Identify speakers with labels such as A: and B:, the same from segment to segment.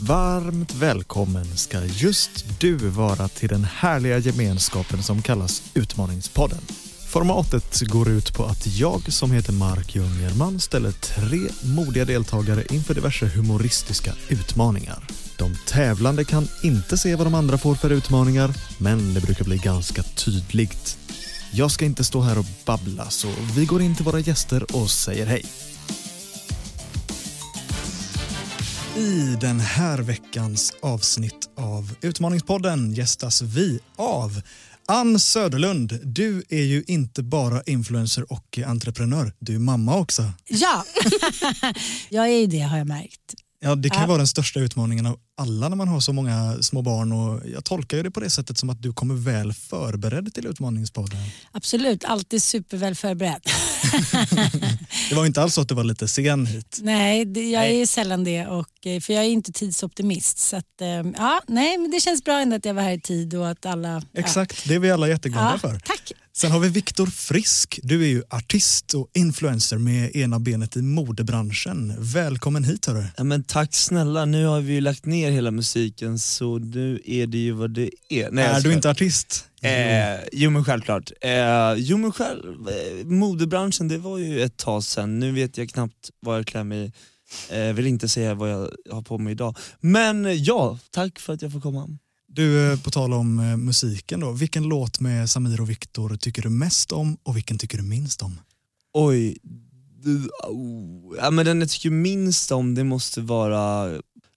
A: Varmt välkommen ska just du vara till den härliga gemenskapen som kallas Utmaningspodden. Formatet går ut på att jag som heter Mark Ljungerman ställer tre modiga deltagare inför diverse humoristiska utmaningar. De tävlande kan inte se vad de andra får för utmaningar, men det brukar bli ganska tydligt. Jag ska inte stå här och babbla, så vi går in till våra gäster och säger hej. I den här veckans avsnitt av Utmaningspodden gästas vi av Ann Söderlund. Du är ju inte bara influencer och entreprenör, du är mamma också.
B: Ja, jag är ju det har jag märkt.
A: Ja, det kan
B: Ja.
A: vara den största utmaningen av alla när man har så många små barn och jag tolkar ju det på det sättet som att du kommer väl förberedd till Utmaningspodden.
B: Absolut, alltid superväl förberedd.
A: Det var ju inte alls så att du var lite sen hit.
B: nej, det, jag
A: Nej.
B: är sällan det och, eh, för jag är inte tidsoptimist. Så att, eh, ja, nej, men det känns bra ändå att jag var här i tid och att alla...
A: Exakt, det är vi alla
B: Ja.
A: jätteglada
B: Ja,
A: för.
B: tack.
A: Sen har vi Viktor Frisk. Du är ju artist och influencer med ena benet i modebranschen. Välkommen hit hörru.
C: Ja, men tack snälla, nu har vi ju lagt ner hela musiken så nu är det ju vad det är. Nej,
A: är
C: jag
A: du
C: skojar.
A: inte artist?
C: Eh, jo men självklart. Eh, jo men själv, eh, modebranschen det var ju ett tag sen. Nu vet jag knappt vad jag klär mig i. Eh, vill inte säga vad jag har på mig idag. Men eh, ja, tack för att jag får komma.
A: Du, eh, på tal om eh, musiken då. Vilken låt med Samir och Viktor tycker du mest om och vilken tycker du minst om?
C: Oj, du, au. ja, men den jag tycker minst om det måste vara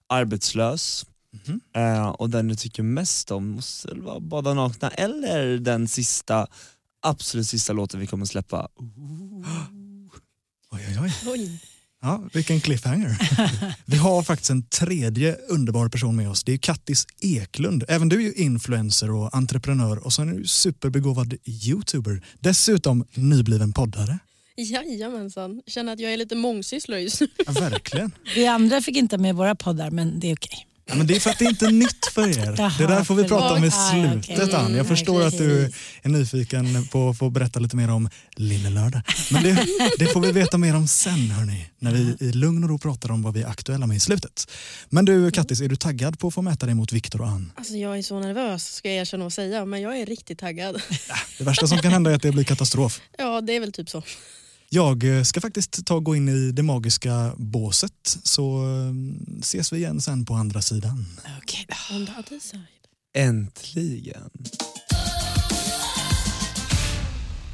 C: arbetslös.
A: Mhm.
C: Eh, och den du tycker mest om måste väl vara Bada nakna eller den sista, absolut sista låten vi kommer släppa.
A: Oj, oj, oj.
B: Oj.
A: Ja, vilken cliffhanger. Vi har faktiskt en tredje underbar person med oss. Det är Kattis Eklund. Även du är ju influencer och entreprenör och så är du superbegåvad youtuber. Dessutom nybliven poddare.
D: Jajamensan, känner att jag är lite mångsysslare just nu.
A: Ja, verkligen.
B: Vi andra fick inte med våra poddar men det är okej.
A: Ja, men det är för att det inte är nytt för er.
B: Jaha,
A: det där får vi prata om i
B: förlåt. Ah, okej.
A: slutet, Ann. Jag
B: Mm,
A: förstår att du
B: precis.
A: är nyfiken på att få berätta lite mer om Lille Lördag. Men det, det får vi veta mer om sen, hörni. När vi i lugn och ro pratar om vad vi är aktuella med i slutet. Men du, Kattis, är du taggad på att få mäta dig mot Viktor och Ann?
D: Alltså jag är så nervös ska jag erkänna och säga, men jag är riktigt taggad.
A: Det värsta som kan hända är att det blir katastrof.
D: Ja, det är väl typ så.
A: Jag eh, ska faktiskt ta och gå in i det magiska båset så eh, ses vi igen sen på andra sidan.
B: Okej då.
D: On the other side.
C: Äntligen.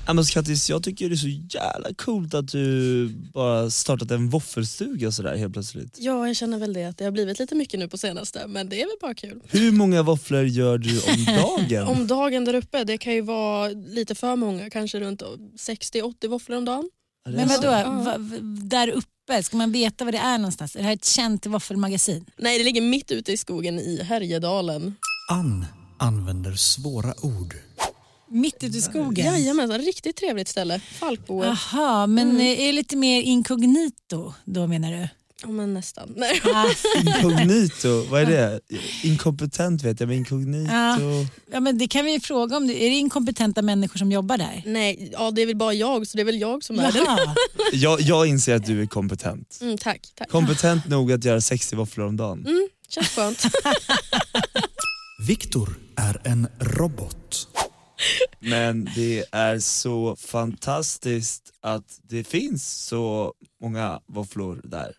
C: Ja, men Kattis, jag tycker det är så jävla coolt att du bara startat en våffelstuga sådär helt plötsligt.
D: Ja, jag känner väl det att det har blivit lite mycket nu på senaste, men det är väl bara kul.
C: Hur många våfflor gör du om dagen?
D: Om dagen där uppe, det kan ju vara lite för många, kanske runt 60-80 våfflor om dagen.
C: Är det
B: Men vadå,
C: så?
B: va, va, där uppe, ska man veta var det är någonstans? Är det här ett känt våffelmagasin?
D: Nej, det ligger mitt ute i skogen i Härjedalen.
A: Ann använder svåra ord.
B: Mitt ute i skogen?
D: Jajamensan, riktigt trevligt ställe. Falkboer.
B: Aha, men eh, är det lite mer inkognito då menar du?
D: Ja, men nästan. Nej.
B: Ah,
C: Inkognito, vad är det? Inkompetent vet jag, men inkognito...
B: Ja. ja, men det kan vi ju fråga om. det- Är det inkompetenta människor som jobbar där?
D: Nej, ja, det är väl bara jag, så det är väl jag som är den.
B: Jaha.
C: Jag, jag inser att du är kompetent.
D: Mm, tack, tack.
C: Kompetent nog att göra 60 våfflor om dagen.
D: Känns skönt.
A: Viktor är en robot.
C: Men det är så fantastiskt att det finns så många våfflor där.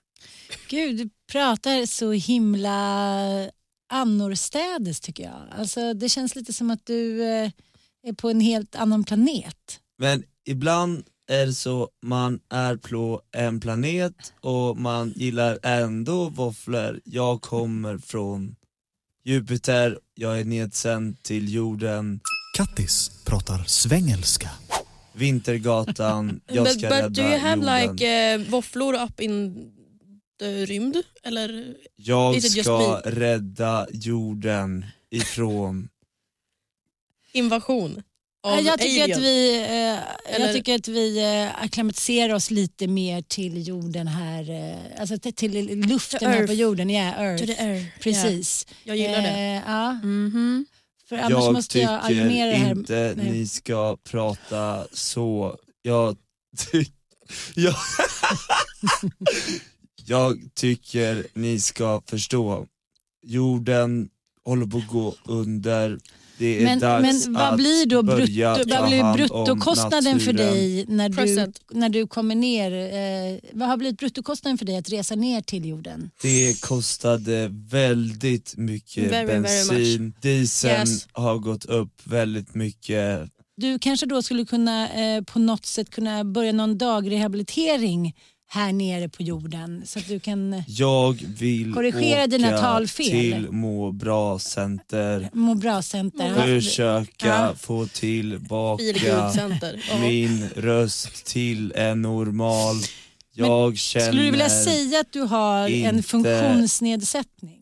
B: Gud, du pratar så himla annorstädes tycker jag. Alltså, det känns lite som att du eh, är på en helt annan planet.
C: Men ibland är det så man är på en planet och man gillar ändå våfflor. Jag kommer från Jupiter, jag är nedsänd till jorden,
A: Kattis pratar svängelska.
C: Vintergatan, jag
D: But,
C: ska
D: but do
C: rädda
D: you have
C: jorden.
D: like eh, våfflor up in the rymd? Eller?
C: Jag
D: Is it just
C: ska rädda jorden ifrån...
D: Invasion? Av
B: Ja, jag, tycker
D: aliens.
B: att vi, eh,
D: Eller-
B: jag tycker att vi eh, akklimatiserar oss lite mer till jorden här, eh, alltså till, till
D: To
B: luften här på
D: earth.
B: jorden. Yeah, earth.
D: To the earth.
B: Precis.
D: Ja, jag gillar det.
B: Eh, ja,
D: Mhm.
B: för annars
C: Mm. jag
B: måste jag
C: tycker
B: animera det här.
C: inte
B: Nej.
C: ni ska prata så. Jag tycker... Jag... Jag tycker ni ska förstå, jorden håller på att gå under, det är
B: Men,
C: dags
B: men vad
C: att
B: blir då
C: börja
B: brutto,
C: ta
B: vad blir
C: hand om
B: bruttokostnaden för
C: naturen.
B: dig när du,
D: Present.
B: när du kommer ner? Eh, vad har blivit bruttokostnaden för dig att resa ner till jorden?
C: Det kostade väldigt mycket
D: Very, very
C: bensin, dieseln
D: Yes.
C: har gått upp väldigt mycket.
B: Du kanske då skulle kunna eh, på något sätt kunna börja någon dagrehabilitering här nere på jorden så att du kan
C: Jag vill
B: Korrigera
C: åka
B: dina talfel.
C: till må bra center,
B: må bra-center.
C: försöka
B: Ja.
C: få
D: eh,
C: tillbaka
D: Feelgood-center. Ja.
C: min röst till en normal. Jag känner...
B: Skulle du vilja säga att du har en
C: inte-
B: funktionsnedsättning?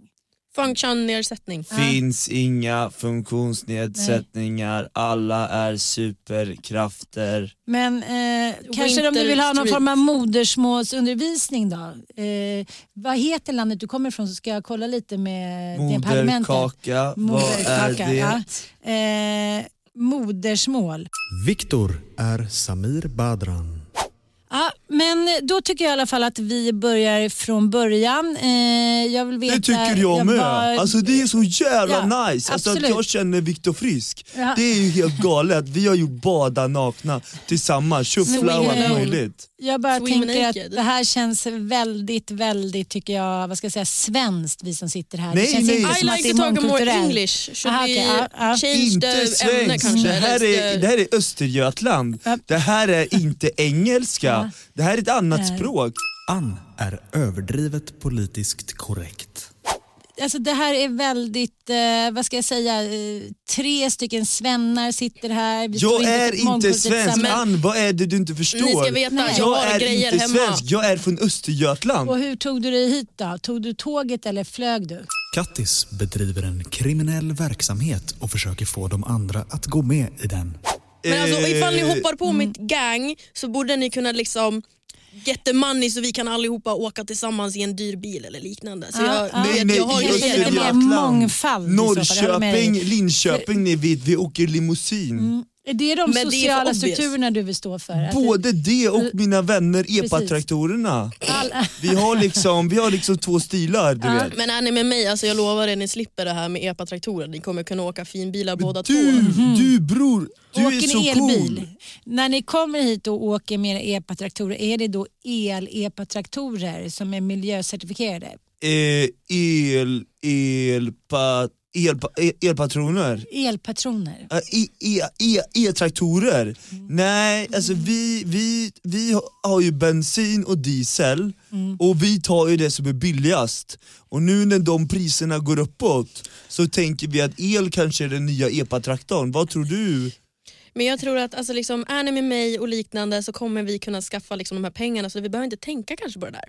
D: Funktionnedsättning.
C: Finns inga funktionsnedsättningar, alla är superkrafter.
B: Men eh, kanske om du
D: Winter
B: vill ha någon
D: Street.
B: form av modersmålsundervisning då? Eh, vad heter landet du kommer ifrån så ska jag kolla lite med det parlamentet.
C: Moderkaka, vad är
B: Moderkaka,
C: det?
B: ja. Eh, modersmål.
A: Viktor är Samir Badran.
B: Ja, men då tycker jag i alla fall att vi börjar från början. Eh, jag vill veta...
C: Det tycker jag, med.
B: var-
C: Alltså det är så jävla
B: Ja,
C: nice. Alltså, att
B: absolut.
C: jag känner Viktor Frisk.
B: Ja.
C: Det är ju helt galet. Vi har ju bada nakna tillsammans, tjuffla och allt
D: eh,
B: Swim.
C: möjligt.
B: Jag bara
D: Swim
B: tänker
D: naked.
B: att det här känns väldigt, väldigt, tycker jag, vad ska jag säga, svenskt vi som sitter här.
C: Nej,
B: det känns
C: nej.
B: inte
D: I
B: som att
D: like
B: det
D: to
B: är
D: talk more
B: mångkulturellt.
D: English. Should
B: Aha,
D: we
B: okej, ja, ja.
D: change
C: Inte
D: the ämne
C: svenskt.
D: kanske?
C: Det här, är, det här är Östergötland.
B: Ja.
C: Det här är inte engelska.
B: Ja.
C: Det här är ett annat
B: Nej.
C: språk.
A: Ann är överdrivet politiskt korrekt.
B: Alltså det här är väldigt, eh, vad ska jag säga, eh, tre stycken svennar sitter här. Vi står
C: Jag
B: i
C: är
B: ett
C: inte
B: mångkulturellt
C: svensk.
B: samhälle.
C: Ann, vad är det du inte förstår?
D: Ni ska veta,
B: Nej.
D: jag
C: jag
D: har
C: är
D: grejer
C: inte
D: hemma.
C: svensk. Jag är från Östergötland.
B: Och hur tog du dig hit då? Tog du tåget eller flög du?
A: Kattis bedriver en kriminell verksamhet och försöker få de andra att gå med i den.
D: Men alltså,
C: Eh,
D: ifall ni hoppar på mitt gang så borde ni kunna liksom get the money så vi kan allihopa åka tillsammans i en dyr bil eller liknande. Så
B: Ja,
D: jag,
B: ja.
D: vet,
C: Nej, nej,
D: jag har
C: i
B: Kanske
D: grejer
B: lite
D: hemma.
B: mer
C: Östergötland.
B: mångfald. i så fall, jag håller med dig.
C: Norrköping, Linköping, ni vet, vi åker limousin.
B: Är det de
D: Men det är för
B: sociala
D: obvious.
B: strukturerna du vill stå för? Alltså, Att
C: Både det och mina vänner epa-traktorerna. Vi har liksom, vi har liksom två stilar du vet.
D: Men är ni med mig, alltså jag lovar er, ni slipper det här med epa-traktorer. Ni kommer kunna åka finbilar båda
C: Du,
D: två.
C: du bror, du
B: åker
C: är så
B: elbil.
C: cool.
B: När ni kommer hit och åker med era epatraktorer, är det då el-epatraktorer som är miljöcertifierade?
C: Eh, el, elpa, elpa, el, elpatroner.
B: Elpatroner?
C: Eh, E, e, e, E-traktorer. Nej, alltså vi, vi, vi har ju bensin och diesel
B: Mm.
C: och vi tar ju det som är billigast. Och nu när de priserna går uppåt så tänker vi att el kanske är den nya epa-traktorn. Vad tror du?
D: Men jag tror att alltså, liksom, är ni med mig och liknande så kommer vi kunna skaffa liksom, de här pengarna så vi behöver inte tänka kanske på det där.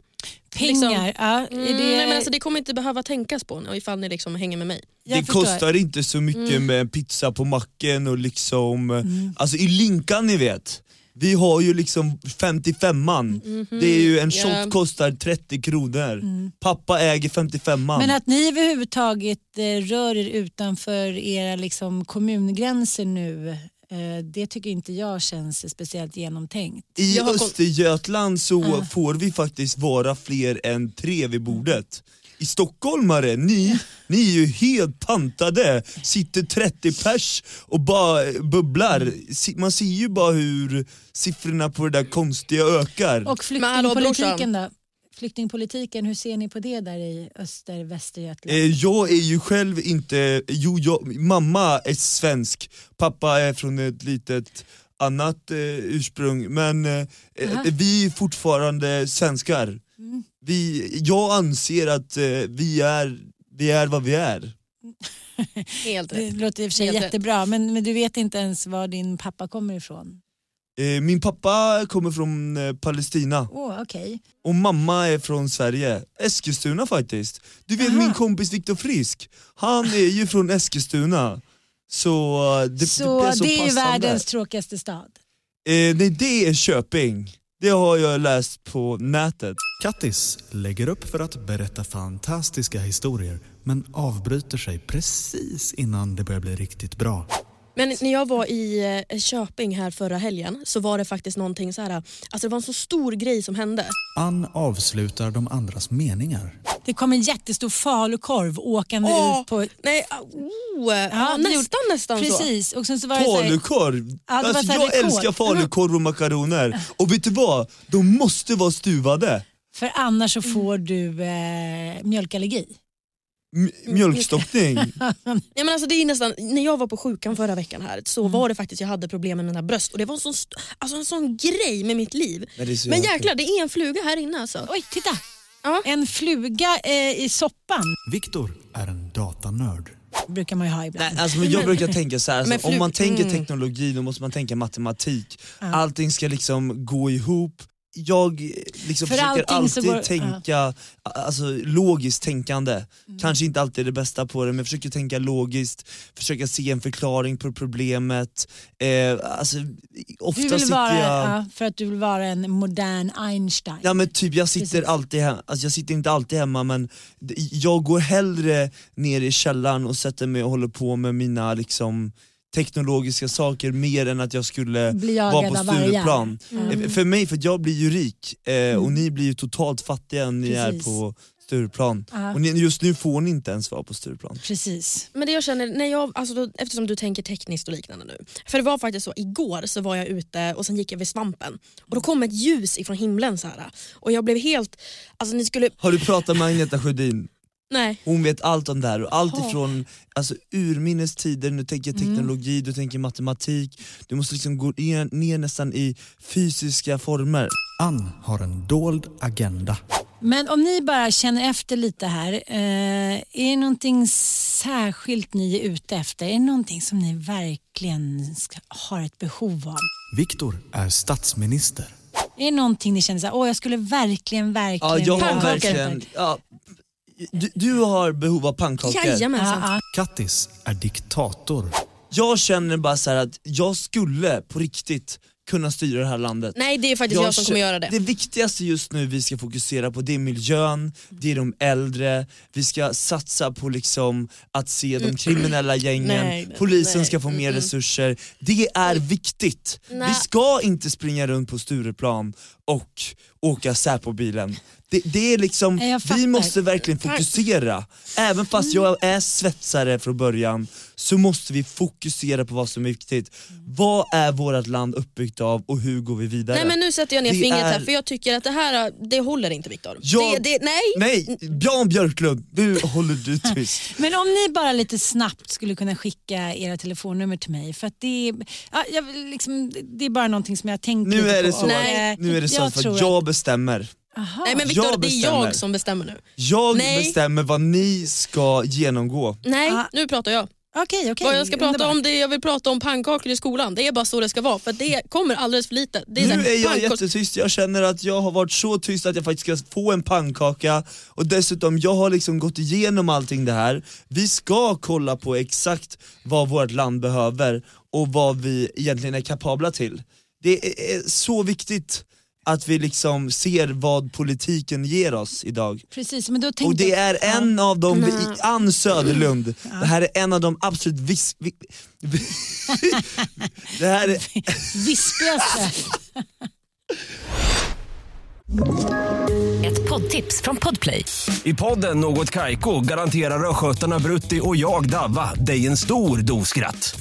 B: Pengar?
D: Liksom-
B: ja, är
D: Mm,
B: det,
D: nej, men alltså, det kommer inte behöva tänkas på nu, ifall ni liksom hänger med mig.
B: jag
C: det
B: förstår. Mm.
C: kostar inte så mycket med en pizza på macken och liksom, alltså i Linkan ni vet, vi har ju liksom 55an,
B: Mm-hmm.
C: det är ju en shot
D: Ja.
C: kostar 30 kronor, pappa äger 55an.
B: Mm. Men att ni överhuvudtaget eh, rör er utanför era liksom, kommungränser nu, eh, det tycker inte jag känns speciellt genomtänkt.
C: I
D: Jag har koll-
C: Östergötland så får vi faktiskt vara fler än tre vid bordet. I stockholmare, ni, ni är ju helt pantade, sitter 30 pers och bara bubblar. Si- Man ser ju bara hur siffrorna på det där konstiga ökar.
B: Och
D: Men hallå, brorsan.
B: flyktingpolitiken då? Flyktingpolitiken, hur ser ni på det där i öster Västergötland?
C: Eh, Jag är ju själv inte, jo jag, mamma är svensk, pappa är från ett litet annat eh, ursprung men eh, eh,
B: Aha. Mm.
C: vi är fortfarande svenskar. Vi, jag anser att eh, vi, är, vi är vad vi är.
D: Helt
B: Det
D: rätt.
B: låter i och för sig
D: Helt rätt.
B: jättebra men, men du vet inte ens var din pappa kommer ifrån?
C: Eh, Min pappa kommer från eh, Palestina
B: Åh, okej.
C: och mamma är från Sverige, Eskilstuna faktiskt. Du vet
B: Aha.
C: min kompis Viktor Frisk, han är ju från Eskilstuna. Så eh, det, det
B: Så
C: blev
B: det,
C: så
B: är ju
C: passande.
B: världens tråkigaste stad.
C: Eh, nej, det är Köping. Det har jag läst på nätet.
A: Kattis lägger upp för att berätta fantastiska historier men avbryter sig precis innan det börjar bli riktigt bra.
D: Men när jag var i eh, Köping här förra helgen så var det faktiskt någonting så här. Alltså det var en så stor grej som hände.
A: Ann avslutar de andras meningar.
B: Det kom en jättestor falukorv åkande
D: Åh,
B: ut på...
D: Nej, ah, oh, ja,
B: Ja, det
D: nästan nästan så.
B: Precis, och sen så var det så här,
C: Falukorv!
B: Ja, det var
C: alltså,
B: så här
C: jag
B: rekord.
C: älskar falukorv och makaroner. Och vet du vad? De måste vara stuvade.
B: för annars så får du eh, mjölkallergi.
C: M- mjölkstockning.
D: Ja, men alltså det är nästan, när jag var på sjukan förra veckan här så
C: Mm.
D: var det faktiskt jag hade problem med mina bröst och det var en sån, st- alltså en sån grej med mitt liv.
C: Men det är så
D: Men
C: jäkla-
D: jäklar, det är en fluga här inne alltså.
B: Oj, titta!
D: Ja.
B: En fluga eh, i soppan
A: Viktor är en datanörd.
B: brukar man ju ha ibland.
C: Nej, alltså, men jag brukar tänka så här,
D: Men
C: alltså,
D: flug-
C: om man tänker
D: mm.
C: teknologi då måste man tänka matematik. Allting ska liksom gå ihop. Jag eh, liksom
B: För
C: försöker
B: allting så
C: alltid
B: går-
C: tänka a- alltså, logiskt tänkande.
B: Mm.
C: Kanske inte alltid det bästa på det men jag försöker tänka logiskt, försöka se en förklaring på problemet. Eh, alltså, ofta
B: Du vill
C: sitter
B: vara,
C: jag...
B: ja, för att du vill vara en modern Einstein.
C: Ja men typ jag sitter
B: Precis.
C: alltid hemma, alltså jag sitter inte alltid hemma men d- jag går hellre ner i källaren och sätter mig och håller på med mina liksom teknologiska saker mer än att jag skulle
B: Bli
C: vara
B: jagad
C: på
B: av vargar.
C: Stureplan.
D: Mm.
C: Eh, För mig, för att jag blir ju rik eh, och ni blir ju totalt fattiga när ni
B: Mm. Precis. Ah.
C: är på Stureplan.
B: Ja,
C: Och ni, just nu får ni inte ens vara på Stureplan.
B: precis.
D: Men det jag känner, när jag, alltså då, eftersom du tänker tekniskt och liknande nu. För det var faktiskt så, igår så var jag ute och sen gick jag vid svampen och då kom ett ljus ifrån himlen så här. Och jag blev helt, alltså ni skulle,
C: Har du pratat med Agneta Sjödin?
D: nej.
C: Hon vet allt om det här och allt ifrån alltså, urminnes tider, nu tänker jag teknologi, du tänker matematik, du måste liksom gå ner, ner nästan i fysiska former.
A: Ann har en dold agenda.
B: Men om ni bara känner efter lite här. Eh, är det någonting särskilt ni är ute efter? Är det någonting som ni verkligen ska, har ett behov av?
A: Viktor är statsminister.
B: Är det någonting ni känner så här, åh jag skulle verkligen, verkligen
C: Ja, jag har
B: vilja ha det?"
C: verkligen, ja, du, du har behov av pannkakor.
D: Jajamensan.
C: Ah,
B: Ja, ja.
A: Kattis är diktator.
C: Jag känner bara så här att jag skulle på riktigt kunna styra det här landet.
D: Nej det är faktiskt jag, som
C: kä-
D: kommer göra det.
C: Det viktigaste just nu vi ska fokusera på det är miljön, det är de äldre, vi ska satsa på liksom att se de kriminella gängen,
D: Mm. Nej, nej,
C: polisen
D: nej.
C: ska få mer
D: Mm-mm.
C: resurser. Det är viktigt. Vi
D: Nej.
C: ska inte springa runt på Stureplan och åka Säpo-bilen. Det, det är liksom,
B: Nej, jag
C: vi
B: fattar.
C: måste verkligen fokusera. Även fast jag
D: Mm.
C: är svetsare från början så måste vi fokusera på vad som är viktigt. Vad är vårt land uppbyggt av och hur går vi vidare?
D: Nej men nu sätter jag ner
C: Det
D: fingret här
C: är-
D: för jag tycker att det här det håller inte Viktor.
C: Jag-
D: Det, det, nej!
C: Nej, Jan Björklund, nu håller du tyst.
B: Men om ni bara lite snabbt skulle kunna skicka era telefonnummer till mig. För att det, är, ja, jag, vill liksom, det är bara någonting som jag har tänkt
C: Nu
B: lite
C: är det
B: på.
C: så,
D: Nej,
C: nu är det så
B: jag
C: att för
B: tror
C: att
B: att-
C: jag bestämmer.
B: Aha.
D: Nej men
C: Jag
D: Viktor, det är
C: bestämmer.
D: jag som bestämmer nu.
C: Jag
D: Nej.
C: bestämmer vad ni ska genomgå.
D: Nej,
B: Ah.
D: nu pratar jag.
B: Okej, okej.
D: Vad jag ska prata
B: underbart.
D: om, det jag vill prata om pannkakor i skolan. Det är bara så det ska vara för det kommer alldeles för lite. Det är så
C: Nu
D: här,
C: är jag
D: pannkakor-
C: jättetyst, jag känner att jag har varit så tyst att jag faktiskt ska få en pannkaka och dessutom, jag har liksom gått igenom allting det här. Vi ska kolla på exakt vad vårt land behöver och vad vi egentligen är kapabla till. Det är- är så viktigt att vi liksom ser vad politiken ger oss idag.
B: Precis, men då tänkte
C: Och det
B: jag-
C: är en av de, vi- Ann Söderlund, det här är en av de absolut vis, vi, vi, det här är,
B: Vispigaste.
E: Ett poddtips från Podplay.
F: I podden Något Kaiko garanterar östgötarna Brutti och jag, Davva, dig en stor dos skratt.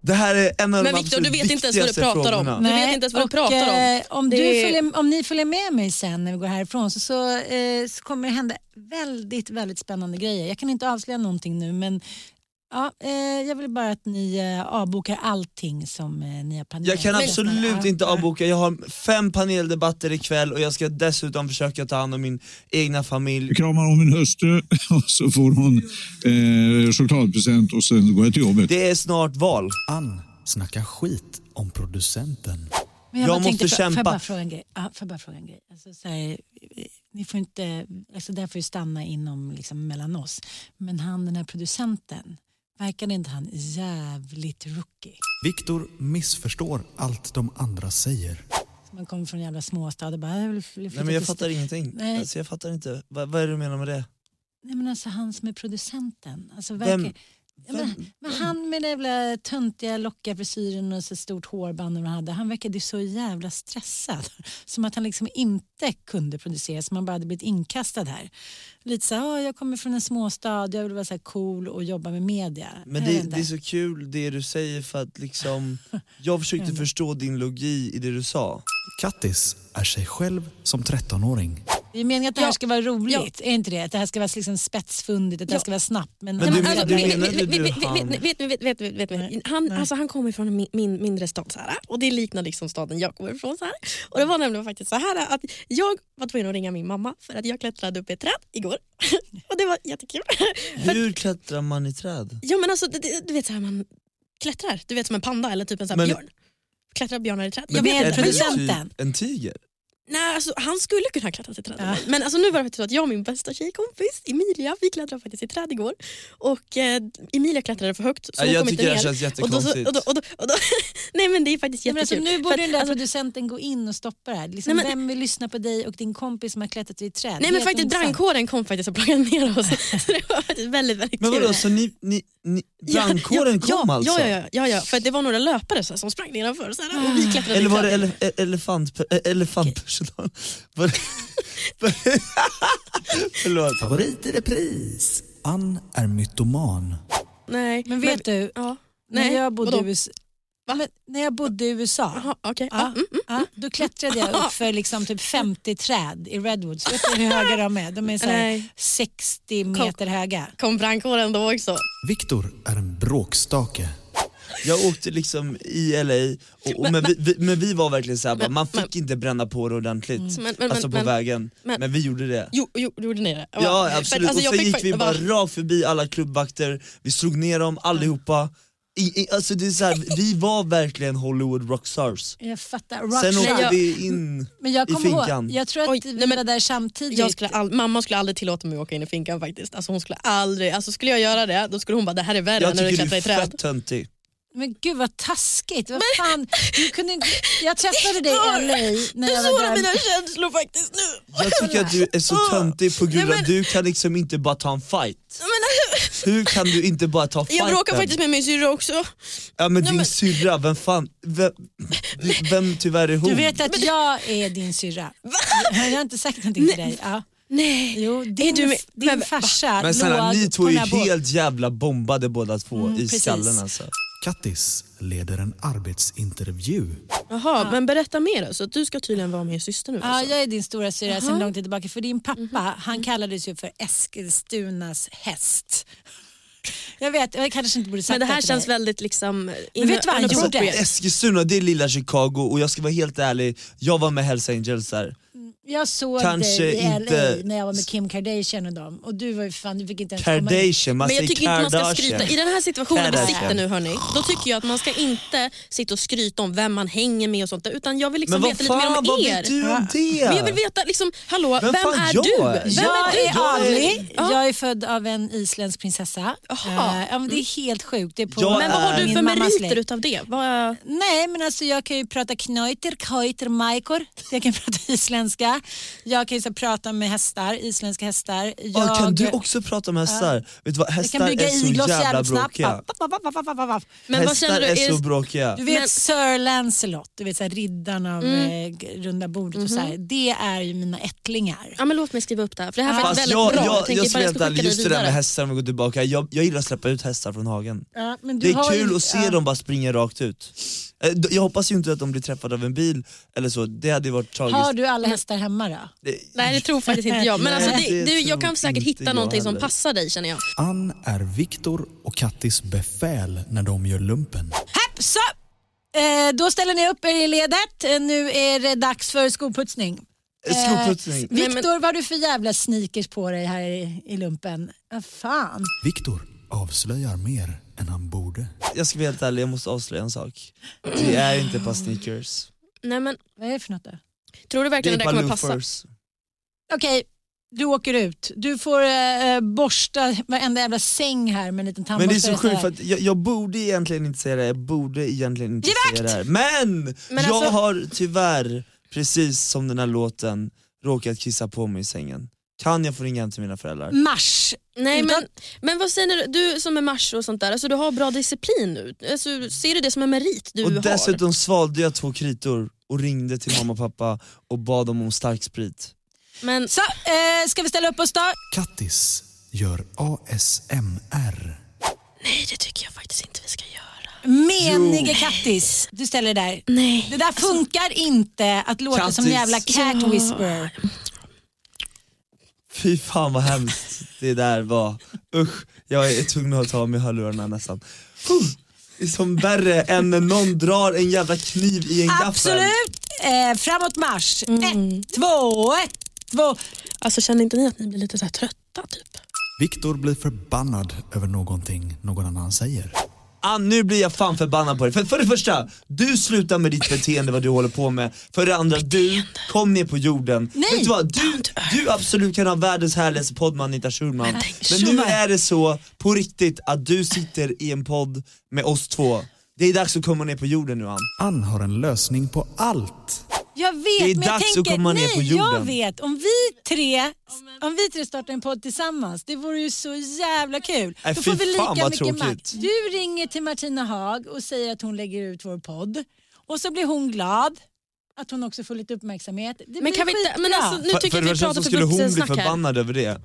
C: det här är en av
D: Men
C: de
D: Viktor, du
C: absolut
D: vet inte ens vad du
C: viktigaste
D: pratar om.
C: frågorna.
D: Du vet inte ens vad du
B: och,
D: pratar om.
B: eh, Om,
D: Det
B: du
D: är-
B: följer, om ni följer med mig sen när vi går härifrån så, så, eh, så kommer det hända väldigt, väldigt spännande grejer. Jag kan inte avslöja någonting nu men ja, eh, jag vill bara att ni eh, avbokar allting som eh, ni har planerat.
C: Jag kan absolut
B: Ja,
C: inte
B: ja.
C: avboka, jag har fem paneldebatter ikväll och jag ska dessutom försöka ta hand om min egna familj.
G: kramar om min hustru och så får hon eh, chokladpresent och sen går jag till jobbet.
C: Det är snart val.
A: Ann snackar skit om producenten.
B: Men
C: Jag
B: bara
C: måste
B: tänkte, får- Får
C: kämpa.
B: jag bara fråga en grej? Ja, får jag bara fråga en grej? Alltså, så här, eh, ni får inte, alltså det här får ju stanna inom, liksom, mellan oss. Men han den här producenten, verkade inte han jävligt rookie?
A: Viktor missförstår allt de andra säger.
B: Man kommer från en jävla småstad och bara... Jag vill flytta
C: Nej, men jag
B: till-
C: fattar ingenting.
B: Nej.
C: Alltså, jag fattar inte. Va, vad är det du menar med det?
B: Nej, men alltså han som är producenten. Alltså, verkar,
C: Vem-
B: vem? Men, men han med den jävla töntiga lockiga frisyren och så stort hårband han hade. Han verkade ju så jävla stressad. Som att han liksom inte kunde producera, som han bara hade blivit inkastad här. Lite så här, "Ah, jag kommer från en småstad, jag vill vara så här cool och jobba med media.
C: Men
B: Jag
C: det,
B: vet inte.
C: det är så kul det du säger för att liksom, jag försökte förstå din logi i det du sa.
A: Kattis är sig själv som 13-åring.
B: det är meningen att det här
D: Ja.
B: ska vara roligt, är inte det? Att det här ska vara liksom spetsfundigt, att det här
D: Ja.
B: ska vara snabbt. Men,
C: Men
D: Nej,
C: du-
D: men alltså,
C: du
D: vet-
C: menar
D: vet-
C: inte du,
D: vet- vet-
C: han?
D: vet- vet- vet- vet- vet- vet- vet- Han alltså, han kommer från en min- min, mindre stad, så här, och det är liknande liksom staden jag kommer ifrån. Så här. Och det var nämligen faktiskt så här att jag var tvungen att ringa min mamma för att jag klättrade upp i ett träd igår. och det var jättekul.
C: Hur klättrar man i träd?
D: ja, men alltså, det- det, du vet så här, man klättrar, du vet som en panda eller typ en så här
C: Men-
D: björn. Klättrar björnar i träd.
B: Men-
D: jag vet,
B: men-
D: inte,
C: är
D: men
C: det
D: jag,
B: Producenten.
C: typ en tiger?
D: nej, alltså, han skulle kunna klättra i träd.
B: Ja.
D: Men alltså, nu var det faktiskt så att jag och min bästa tjejkompis Emilia, vi klättrade faktiskt i träd igår. Och eh, Emilia klättrade för högt så
C: Ja,
D: hon
C: jag
D: kom inte
C: tycker det här
D: ner.
C: känns
D: Och då, så,
C: jättekonstigt.
D: och då, och då, och då, nej men det är faktiskt
B: Ja, men
D: jättekul.
B: alltså, nu
D: För
B: borde
D: att-
B: den där
D: alltså,
B: producenten gå in och stoppa det här. Liksom,
D: Nej, men-
B: vem vill lyssna på dig och din kompis som har klättrat i ett träd?
D: nej
B: Det
D: men
B: är
D: faktiskt
B: jätteintressant.
D: brandkåren kom faktiskt och plockade ner oss. så det var faktiskt väldigt, väldigt
C: Men
D: kul.
C: vadå, så ni, ni, ni,
D: Ja,
C: brandkåren
D: ja,
C: kom
D: ja,
C: alltså?
D: Ja, ja, ja, ja, för att det var några löpare så här, som sprang nedanför så här, och vi klättrade
C: Ah. Eller var det
D: i
C: ele, e- elefant, e- elefantpersonal? Var det, var det, förlåt.
A: Favorit i repris. Ann är mytoman.
D: Nej,
B: Men vet du,
D: Ja,
B: när
D: nej,
B: jag bodde
D: vadå?
B: i USA, men, när jag bodde i USA
D: Jaha, okej.
B: Ja,
D: Ja, mm.
B: ja, då klättrade jag upp för liksom typ 50 träd i Redwoods. Vet du hur höga de är? De är så här
D: Nej.
B: 60 meter höga.
D: Kom brandkåren då också.
A: Viktor är en bråkstake.
C: Jag åkte liksom i LA, och, och, men, vi, vi, men vi var verkligen såhär, bara, man fick inte bränna på det ordentligt
D: Mm. Men- men-
C: alltså på
D: men-
C: vägen,
D: men-
C: men vi gjorde det.
D: Jo, jo gjorde ni det?
C: Ja
D: För att,
C: absolut,
D: alltså, jag
C: och sen
D: fick
C: gick
D: faktiskt-
C: vi
D: jag
C: bara rakt förbi alla klubbvakter, vi slog ner dem allihopa. I, i, alltså det är så här, vi var verkligen Hollywood rockstars.
B: Jag fattar.
C: Sen
B: Rockstar.
C: åkte
D: jag-
C: vi in
B: men jag
C: i
B: kommer ihåg,
C: finkan.
B: jag tror att
D: Oj,
B: vi
D: nej, men-
B: var där samtidigt.
D: Jag skulle all, mamma skulle aldrig tillåta mig att åka in i finkan faktiskt. Alltså hon skulle aldrig, alltså skulle jag göra det då skulle hon bara det här är värre
C: Jag
D: än när du
C: tycker du
D: klättrar
C: är
D: i träd.
C: fett töntig.
B: Men gud vad taskigt. Vad fan? Du kunde inte... Jag träffade dig
D: Viktor!
B: i LA när jag
D: Såra
B: var där.
D: mina känslor faktiskt nu.
C: Jag tycker att du är så
D: Ah!
C: töntig på grund av att du kan liksom inte bara ta en fight. Hur kan du inte bara ta fighten?
D: Jag bråkar faktiskt med min syrra också.
C: Ja men
D: Nej,
C: din
D: men-
C: syrra, vem fan, vem, vem tyvärr är hon?
B: Du vet att jag är din syrra. Jag har inte sagt någonting till dig. Ja.
D: Nej.
B: Jo, din,
D: du med-
B: din
D: men-
B: farsa
C: men snälla
B: låg
C: ni två
B: på
C: är ju
B: den här bå-
C: helt jävla bombade båda två
D: Mm,
C: i
B: precis.
C: skallen alltså.
A: Kattis leder en arbetsintervju.
D: Jaha, men berätta mer. Så du ska tydligen vara min syster nu.
B: Ja,
D: alltså.
B: jag är din stora syrra sedan lång tid tillbaka. För din pappa, han kallades ju för Eskilstunas häst. Jag vet, jag kanske inte borde sagt
D: Men det här
B: till
D: känns
B: dig.
D: väldigt liksom...
B: Men vet du vad han
D: inappropriate.
B: gjorde?
D: Alltså,
C: Eskilstuna det är lilla Chicago och jag ska vara helt ärlig, jag var med Hells Angels där.
B: Jag såg
C: Kanske
B: dig i
C: inte-
B: LA när jag var med Kim Kardashian och dem. Och du var ju fan, du fick inte ens komma in.
C: Kardashian, man
D: Men jag
C: säger
D: tycker inte man ska skryta. I
C: Alltså, Kardashian.
D: den här situationen vi
C: Kardashian.
D: sitter nu hörni, då tycker jag att man ska inte sitta och skryta om vem man hänger med och sånt där, utan jag vill liksom
C: Men vad
D: veta lite mer
C: fan,
D: om
C: vad
D: er.
C: vet du om det?
D: Men jag vill veta, liksom, hallå,
C: Vem
D: vem,
C: fan
D: är
C: jag
D: du?
C: är?
D: Vem
B: jag
D: är du?
B: är adlig,
D: Ja.
B: jag är född av en isländsk prinsessa.
D: Jaha.
B: Eh, ja, men det är helt sjukt. Det är på eh,
C: Jag
D: Men vad har du
B: min
D: för
B: mammas
D: meriter
B: släkt.
D: utav det? Vad,
B: Nej, men alltså jag kan ju prata knöjter, kajter, majkor. Jag kan prata isländska. Jag kan ju så prata med hästar, isländska hästar. Jag,
C: Ja, kan du också prata om hästar? Vet du vad,
B: jag kan
C: hästar
B: bygga
C: är så
B: igloos
C: jävla
B: jävligt snabbt.
C: bråkiga.
B: Vapp, vapp, vapp, vapp, vapp, vapp.
D: men vad
C: hästar
D: känner du?
C: är så
D: Är,
C: bråkiga.
B: Du vet
D: Men-
B: Sir Lancelot, du vet så här, riddaren av eh, g- runda bordet och så här. Det är ju mina ättlingar.
D: ja, men låt mig skriva upp det här, för det här är
B: Ja.
D: faktiskt
C: Fast
D: väldigt
C: jag,
D: bra.
C: jag,
D: tänker
C: jag,
D: ifall
C: jag,
D: ska
C: jag
D: skicka
C: just
D: dig
C: det där
D: vidare.
C: med hästar om vi går tillbaka, jag, jag gillar att släppa ut hästar från hagen.
B: Ja, men du
C: Det är
B: har ju-
C: kul att se
B: ja.
C: dem bara springa rakt ut. Eh, d- Jag hoppas ju inte att de blir träffade av en bil eller så, det hade ju varit tragiskt.
B: Har du alla hästar hemma då?
C: Det-
D: Nej det tror faktiskt inte jag, men
C: Nej,
D: alltså,
C: det
D: det, du,
C: tror
D: jag kan säkert
C: inte
D: hitta
C: jag
D: någonting som
C: heller.
D: passar dig känner jag.
A: Ann är Viktor och Kattis befäl när de gör lumpen.
B: Happ, så! Eh, då ställer ni upp er i ledet. Eh, Nu är det dags för skoputsning.
C: Skoputsning.
D: Nej, men-
B: Viktor, vad har du för jävla sneakers på dig här i, i lumpen? Vad fan.
A: Viktor avslöjar mer än han borde.
C: Jag ska vara helt ärlig, jag måste avslöja en sak. Det är inte ett par sneakers.
D: Nej, men,
B: Vad är det för något då?
D: tror
C: Det
D: du
C: är
D: verkligen
C: ett
D: det
C: par
D: där kommer passa?
C: loafers.
B: Okej, du åker ut. Du får eh, borsta varenda jävla säng här med en liten
C: Men
B: tandborste.
C: det är så sjukt
B: här.
C: för att jag, jag borde egentligen inte säga det, jag borde egentligen inte säga det här. Men!
D: Men
C: jag
D: alltså-
C: har tyvärr, precis som den här låten, råkat kissa på mig i sängen. Kan jag få ringa hem till mina föräldrar?
B: Mars.
D: Nej,
B: Utan-
D: men, men vad säger du, du som är mars och sånt där, alltså, du har bra disciplin nu. Alltså, ser du det som en merit du
C: och
D: har?
C: dessutom svalde jag två kritor och ringde till mamma och pappa och bad dem om starksprit.
D: Men
B: Så, eh, ska vi ställa upp oss då?
A: Kattis gör ASMR.
D: nej, det tycker jag faktiskt inte vi ska göra.
B: Menige Kattis. Du ställer dig där.
D: Nej.
B: Det där funkar inte att låta som en
C: Kattis.
B: jävla cat
D: Ja.
B: whisperer.
C: Fy fan vad hemskt det där var. Usch, jag är tvungen att ta av mig hörlurarna nästan. Huh. Det är som värre än när någon drar en jävla kniv i en gaffel.
B: Absolut. Eh, framåt marsch. Ett, två, ett, två.
D: Alltså, känner inte ni att ni blir lite så här trötta? Typ?
A: Viktor blir förbannad över någonting någon annan säger.
C: Ah, nu blir jag fan förbannad på dig. För, för det första, du slutar med ditt beteende vad du håller på med. För det andra, du kom ner på jorden.
B: Nej,
C: Vet du, vad? du, du absolut kan ha världens härligaste podd med Anita Schulman. Men nu
B: Schulman.
C: är det så på riktigt att du sitter i en podd med oss två. Det är dags att komma ner på jorden nu Ann.
A: Ann har en lösning på allt.
B: Jag vet,
C: Det är
B: men jag
C: dags att
B: tänker,
C: komma ner
B: nej,
C: på jorden.
B: jag vet. Om vi tre, om vi tre startar en podd tillsammans, det vore ju så jävla kul.
C: Nej,
B: Då
C: Äh, fy
B: får vi
C: fan,
B: lika
C: vad
B: mycket
C: tråkigt.
B: makt. Du ringer till Martina Haag och säger att hon lägger ut vår podd och så blir hon glad att hon också får lite uppmärksamhet. Det
D: Men
B: blir
D: kan vi inte, men
B: skitbra.
D: alltså, nu
C: För,
D: tycker
C: för
D: jag
C: det
D: att vi
C: första
D: pratar
C: så
D: för
C: skulle hon bli
D: vuxensnack här.
C: förbannad över det.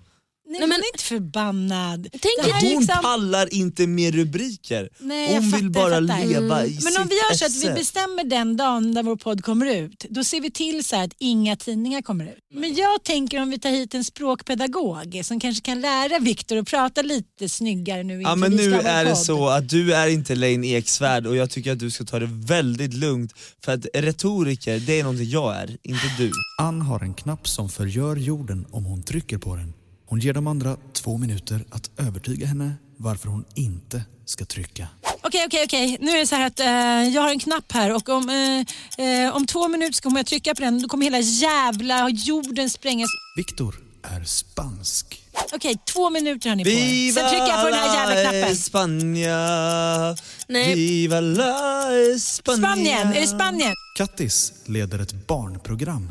B: Nej,
D: Nej,
B: men
D: men-
B: hon är inte förbannad.
D: Tänk
B: Det här är
C: Hon
B: liksom-
C: pallar inte mer rubriker.
B: Nej, jag
C: Hon
B: fattar,
C: vill bara
B: jag fattar. Mm.
C: leva i
B: Men om
C: sitt
B: vi gör så att vi
C: esse.
B: bestämmer den dagen där vår podd kommer ut, då ser vi till så här att inga tidningar kommer ut. Men jag tänker om vi tar hit en språkpedagog som kanske kan lära Viktor att prata lite snyggare nu
C: Ja
B: inför
C: men
B: vi ska
C: nu
B: ha vår
C: är det
B: podd.
C: så att du är inte Lane Eksvärd och jag tycker att du ska ta det väldigt lugnt för att retoriker, det är någonting jag är, inte du.
A: Ann har en knapp som förgör jorden om hon trycker på den. Hon ger de andra två minuter att övertyga henne varför hon inte ska trycka.
B: Okej, okej, okej. Nu är det så här att eh, jag har en knapp här och om, eh, eh, om två minuter så kommer jag trycka på den då kommer hela jävla jorden sprängas.
A: Viktor är spansk.
B: Okej, två minuter har ni på er. Sen trycker jag på den här jävla knappen.
C: España,
D: Nej.
C: viva la España.
B: Spanien, är det Spanien?
A: Kattis leder ett barnprogram.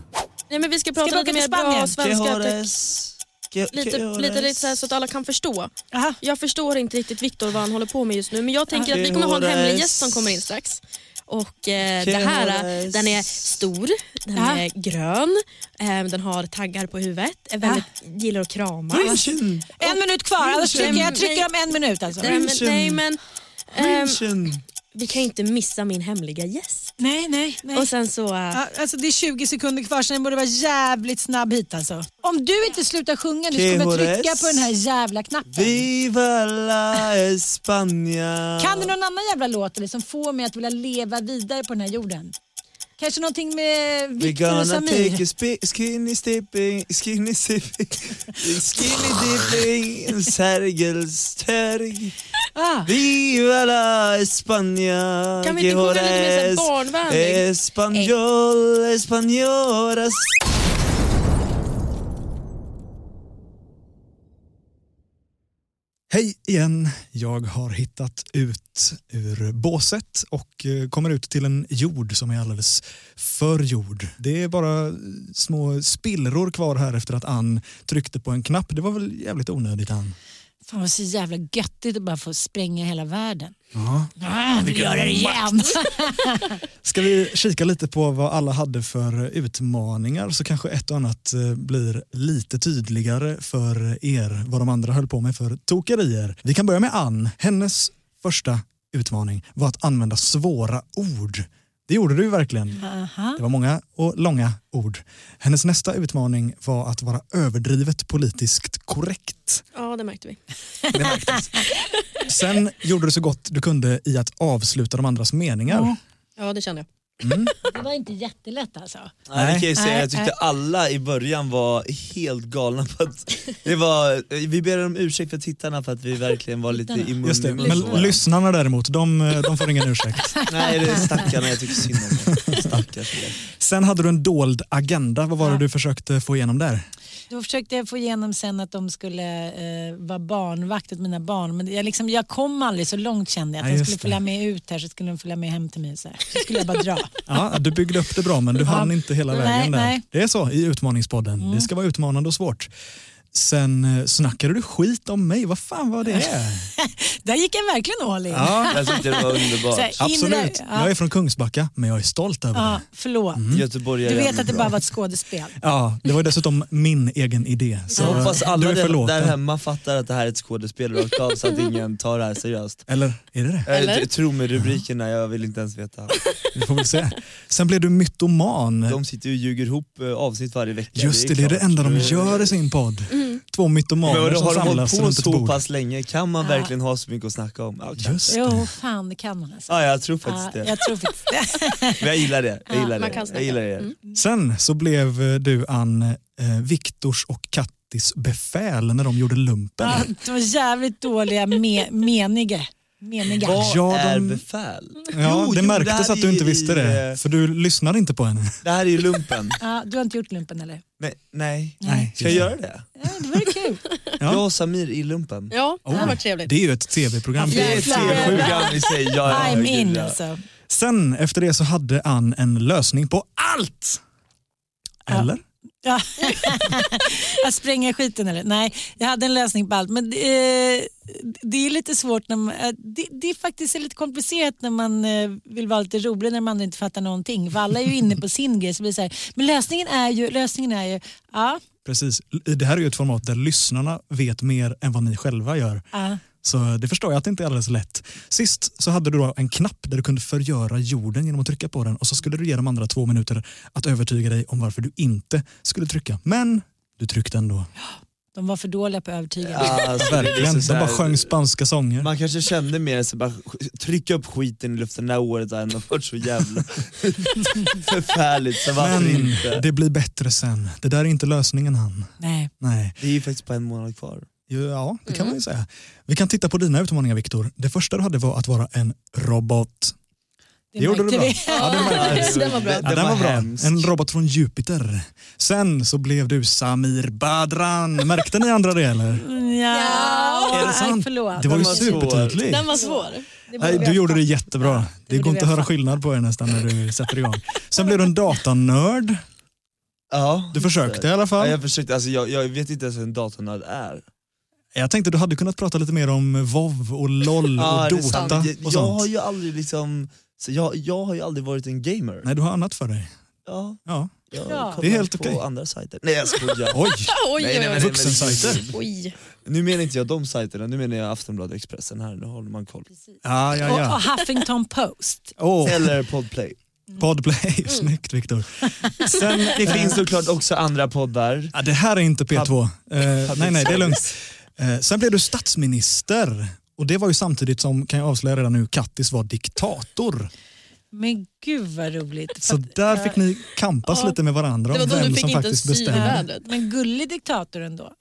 D: Nej, men vi ska
B: Ska
D: prata
B: vi åka
D: lite mer
B: till Spanien?
D: bra
C: Que
D: svenska. typ.
C: horas, que- que
D: Lite,
C: horas.
D: lite, lite så, här, så att alla kan förstå.
B: Aha.
D: Jag förstår inte riktigt Viktor vad han håller på med just nu men jag tänker att vi kommer ha en hemlig gäst som kommer in strax. Och eh, det här, eh, den är stor, den
B: Ja.
D: är grön, eh, den har taggar på huvudet, är väldigt, gillar att krama.
C: München,
B: En minut kvar, annars trycker jag, trycker om en minut alltså.
D: Nej Eh, men, nej, men ehm,
C: München.
D: vi kan ju inte missa min hemliga gäst.
B: Nej, nej, nej.
D: Och sen så... eh,
B: Ja, alltså det är 20 sekunder kvar så den borde vara jävligt snabb hit alltså. Om du inte slutar sjunga nu så kommer jag trycka på den här jävla knappen.
C: Viva la España.
B: Kan du någon annan jävla låt eller som får mig att vilja leva vidare på den här jorden? Kanske någonting med
C: We're
B: Victor och
C: gonna take a
B: Samir?
C: spi- skinny stepping, skinny sipping, skinny dipping, Sergels törg.
B: Ah,
C: Viva la España,
D: Kan vi inte
C: que
D: sjunga lite mer
C: horas,
D: så här barnvänlig?
C: Espanjol, espanjoras.
A: Hej igen! Jag har hittat ut ur båset och eh, kommer ut till en jord som är alldeles för jord. Det är bara eh, små spillror kvar här efter att Ann tryckte på en knapp. Det var väl jävligt onödigt Ann?
B: fan vad så jävla göttigt att bara få spränga hela världen. Ah, vi gör det igen.
A: Ska vi kika lite på vad alla hade för utmaningar så kanske ett och annat eh, blir lite tydligare för er vad de andra höll på med för tokerier. Vi kan börja med Ann. Hennes första utmaning var att använda svåra ord. Det gjorde du ju verkligen. Det var många och långa ord. Hennes nästa utmaning var att vara överdrivet politiskt korrekt.
D: Ja, det märkte vi.
A: Sen gjorde du så gott du kunde i att avsluta de andras meningar.
D: Ja, det kände jag.
B: Det var inte jättelätt alltså.
C: Nej, det kan jag, säga.
B: Nej,
C: jag tyckte
B: nej.
C: alla i början var helt galna på att det var, vi ber om ursäkt för tittarna för att vi verkligen var lite i mun
A: Just det,
C: i mun
A: men
C: på varandra.
A: lyssnarna däremot, de, eh, de får ingen ursäkt.
C: Nej det är stackarna, jag tycker synd om dem. Stackars er.
A: Sen hade du en dold agenda. Vad var det du försökte få igenom där?
B: Då försökte jag få igenom sen att de skulle eh, vara barnvakt åt mina barn. Men jag, liksom, jag kom aldrig så långt kände jag. Att
A: Nej,
B: de
A: just
B: skulle
A: det.
B: följa med ut här så skulle de följa med hem till mig. Så, här. så skulle jag bara dra.
A: Ja, du byggde upp det bra men du hann inte hela
B: Nej,
A: vägen där.
B: nej. Mm.
A: Det är så i Utmaningspodden. Det ska vara utmanande och svårt. Sen eh, snackade du skit om mig. Vad fan var det?
B: Där gick jag verkligen all in.
A: Ja,
C: Jag tyckte det var
B: Så
C: underbart.
B: här, in där-
A: absolut.
B: ja.
A: Jag är från Kungsbacka men jag är stolt över
B: Ja,
A: det.
B: förlåt.
C: Göteborgare
B: Du
C: är
B: vet
C: ändå
B: att det
C: Mm. bra.
B: bara var ett skådespel.
A: Ja, det var ju dessutom min egen idé. Så eh,
C: Så hoppas alla
A: du är
C: där,
A: förlåten.
C: där hemma fattar att det här är ett skådespel rakt av så att
B: Mm.
C: ingen tar det här seriöst.
A: Eller är det det?
C: Eh,
D: Eller?
C: t- Tro mig, rubrikerna, jag vill inte ens veta.
A: Vi får väl se. Sen blev du mytoman.
C: De sitter ju och ljuger ihop eh, avsnitt varje vecka.
A: Just det, det är det
C: klart.
A: enda de
C: Eh,
A: gör i sin podd.
B: Mm.
A: Två mytomaner
C: Men har
A: som
C: de
A: samlas
C: hållit på
A: runt ett
C: så
A: bord.
C: pass länge, kan man
B: Ja.
C: verkligen ha så mycket att snacka om? Ja, kanske.
A: Just det.
B: Jo, fan det kan man alltså.
C: Ja, jag tror faktiskt
B: Ja, Ah,
C: det.
B: jag tror faktiskt det.
C: Men jag gillar det. Jag
D: Ja,
C: gillar
D: man
C: det.
D: kan
C: Jag
D: snacka.
C: gillar det.
D: Mm.
A: Sen så blev eh, du Ann eh, Viktors och Kattis befäl när de gjorde lumpen.
C: Ah,
B: Ja, de var jävligt dåliga, me- meniga. meniga.
C: Vad
A: Ja, de-
C: är befäl?
A: Ja,
C: Jo,
A: det
C: jo,
A: märktes
C: här
A: att du
C: är
A: inte
C: ju
A: visste
C: i,
A: det,
C: eh,
A: för du lyssnade inte på henne.
C: Det här är ju lumpen.
B: Ja, du har inte gjort lumpen eller?
C: Nej, nej.
A: Nej.
C: Ska jag göra det?
B: Ja, det vore kul.
A: Ja.
C: Jag och Samir i lumpen.
D: Ja, det
A: Oh,
D: hade varit trevligt.
A: Det är ju ett tv-program.
C: Det är ett
B: Jävlar.
C: tv-program i sig. Ja, ja,
B: I'm
C: gud,
B: in
C: ja.
B: alltså.
A: Sen efter det så hade Ann en lösning på allt! Eller?
B: Ja. att spränga skiten eller? Nej, jag hade en lösning på allt. Men det, eh, det är lite svårt när man, eh, det, det är faktiskt lite komplicerat när man eh, vill vara lite rolig när man inte fattar någonting. För alla är ju inne på sin grej. Så blir det så här, men lösningen är ju, lösningen är ju, ja,
A: Precis. Det här är ju ett format där lyssnarna vet mer än vad ni själva gör.
B: ja.
A: Så det förstår jag att det inte är alldeles lätt. Sist så hade du då en knapp där du kunde förgöra jorden genom att trycka på den och så skulle du ge de andra två minuter att övertyga dig om varför du inte skulle trycka. Men du tryckte ändå.
B: de var för dåliga på att övertyga.
C: Ja, alltså, det är
A: Verkligen.
C: så- så
A: De bara
C: här-
A: sjöng spanska sånger.
C: Man kanske kände mer så bara trycka upp skiten i luften det här året har ändå varit så jävla förfärligt. Så varför
A: Men
C: inte?
A: det blir bättre sen. Det där är inte lösningen han.
B: Nej.
A: Nej.
C: Det är ju faktiskt bara en månad kvar.
A: Jo, Ja, det kan man
C: Mm.
A: ju säga. Vi kan titta på dina utmaningar Viktor. Det första du hade var att vara en robot. Det gjorde du
B: märkte
A: bra.
B: vi.
A: Ja, det märkte vi.
D: Den var bra.
A: Ja, den var, bra.
C: hemsk.
A: En robot från Jupiter. Sen så blev du Samir Badran. Märkte ni andra det eller?
B: Ja.
A: Är det sant?
B: Förlåt.
A: Det var ju
C: Den var
A: supertydligt.
D: Den var svår.
B: Det borde
A: Nej,
B: vi
A: du
B: ha
A: gjorde det
B: fattat.
A: jättebra. Det
B: borde
A: går
B: vi
A: inte att
B: ha
A: höra
B: fattat.
A: skillnad på er nästan när du sätter igång. Sen blev du en datanörd.
C: Ja.
A: Du försökte i alla
C: Ja,
A: fall.
C: jag försökte, alltså, jag, jag vet inte ens vad en datornörd är.
A: Jag tänkte du hade kunnat prata lite mer om WoW och LOL och
C: Ja, det är sant.
A: Dota
C: Jag,
A: och
C: jag har
A: sånt.
C: ju aldrig liksom, så jag, jag har ju aldrig varit en gamer.
A: Nej, du har annat för dig.
C: Ja,
A: Ja.
C: jag
B: Ja.
C: kollar
A: Det är helt
C: på
A: okej.
C: andra sajter. Nej jag skojar.
A: Oj,
D: Oj,
C: Nej, nej,
D: oj,
C: men-
D: oj.
A: vuxensajter.
D: oj.
C: Nu menar inte jag de sajterna, nu menar jag Aftonbladet Expressen här, nu håller man koll.
A: Ja, ja,
B: Och,
A: ja.
B: och Huffington Post.
A: Åh,
C: Eller Podplay.
A: Podplay. Snyggt Viktor. Sen,
C: Det finns såklart också andra poddar.
A: Ja, det här är inte P2. Eh,
C: public
A: nej, nej, det är
C: service.
A: lugnt. Eh, sen blev du statsminister. Och det var ju samtidigt som, kan jag avslöja redan nu, Kattis var diktator.
B: Men gud vad roligt.
A: Så
B: För att-
A: där
B: ja.
A: fick ni kampas
D: Ja.
A: lite med varandra
D: Det var
A: om
D: då du
A: vem
D: fick
A: som
D: inte
A: faktiskt
D: syre
A: bestämde.
D: vädret.
B: Men gullig diktator ändå.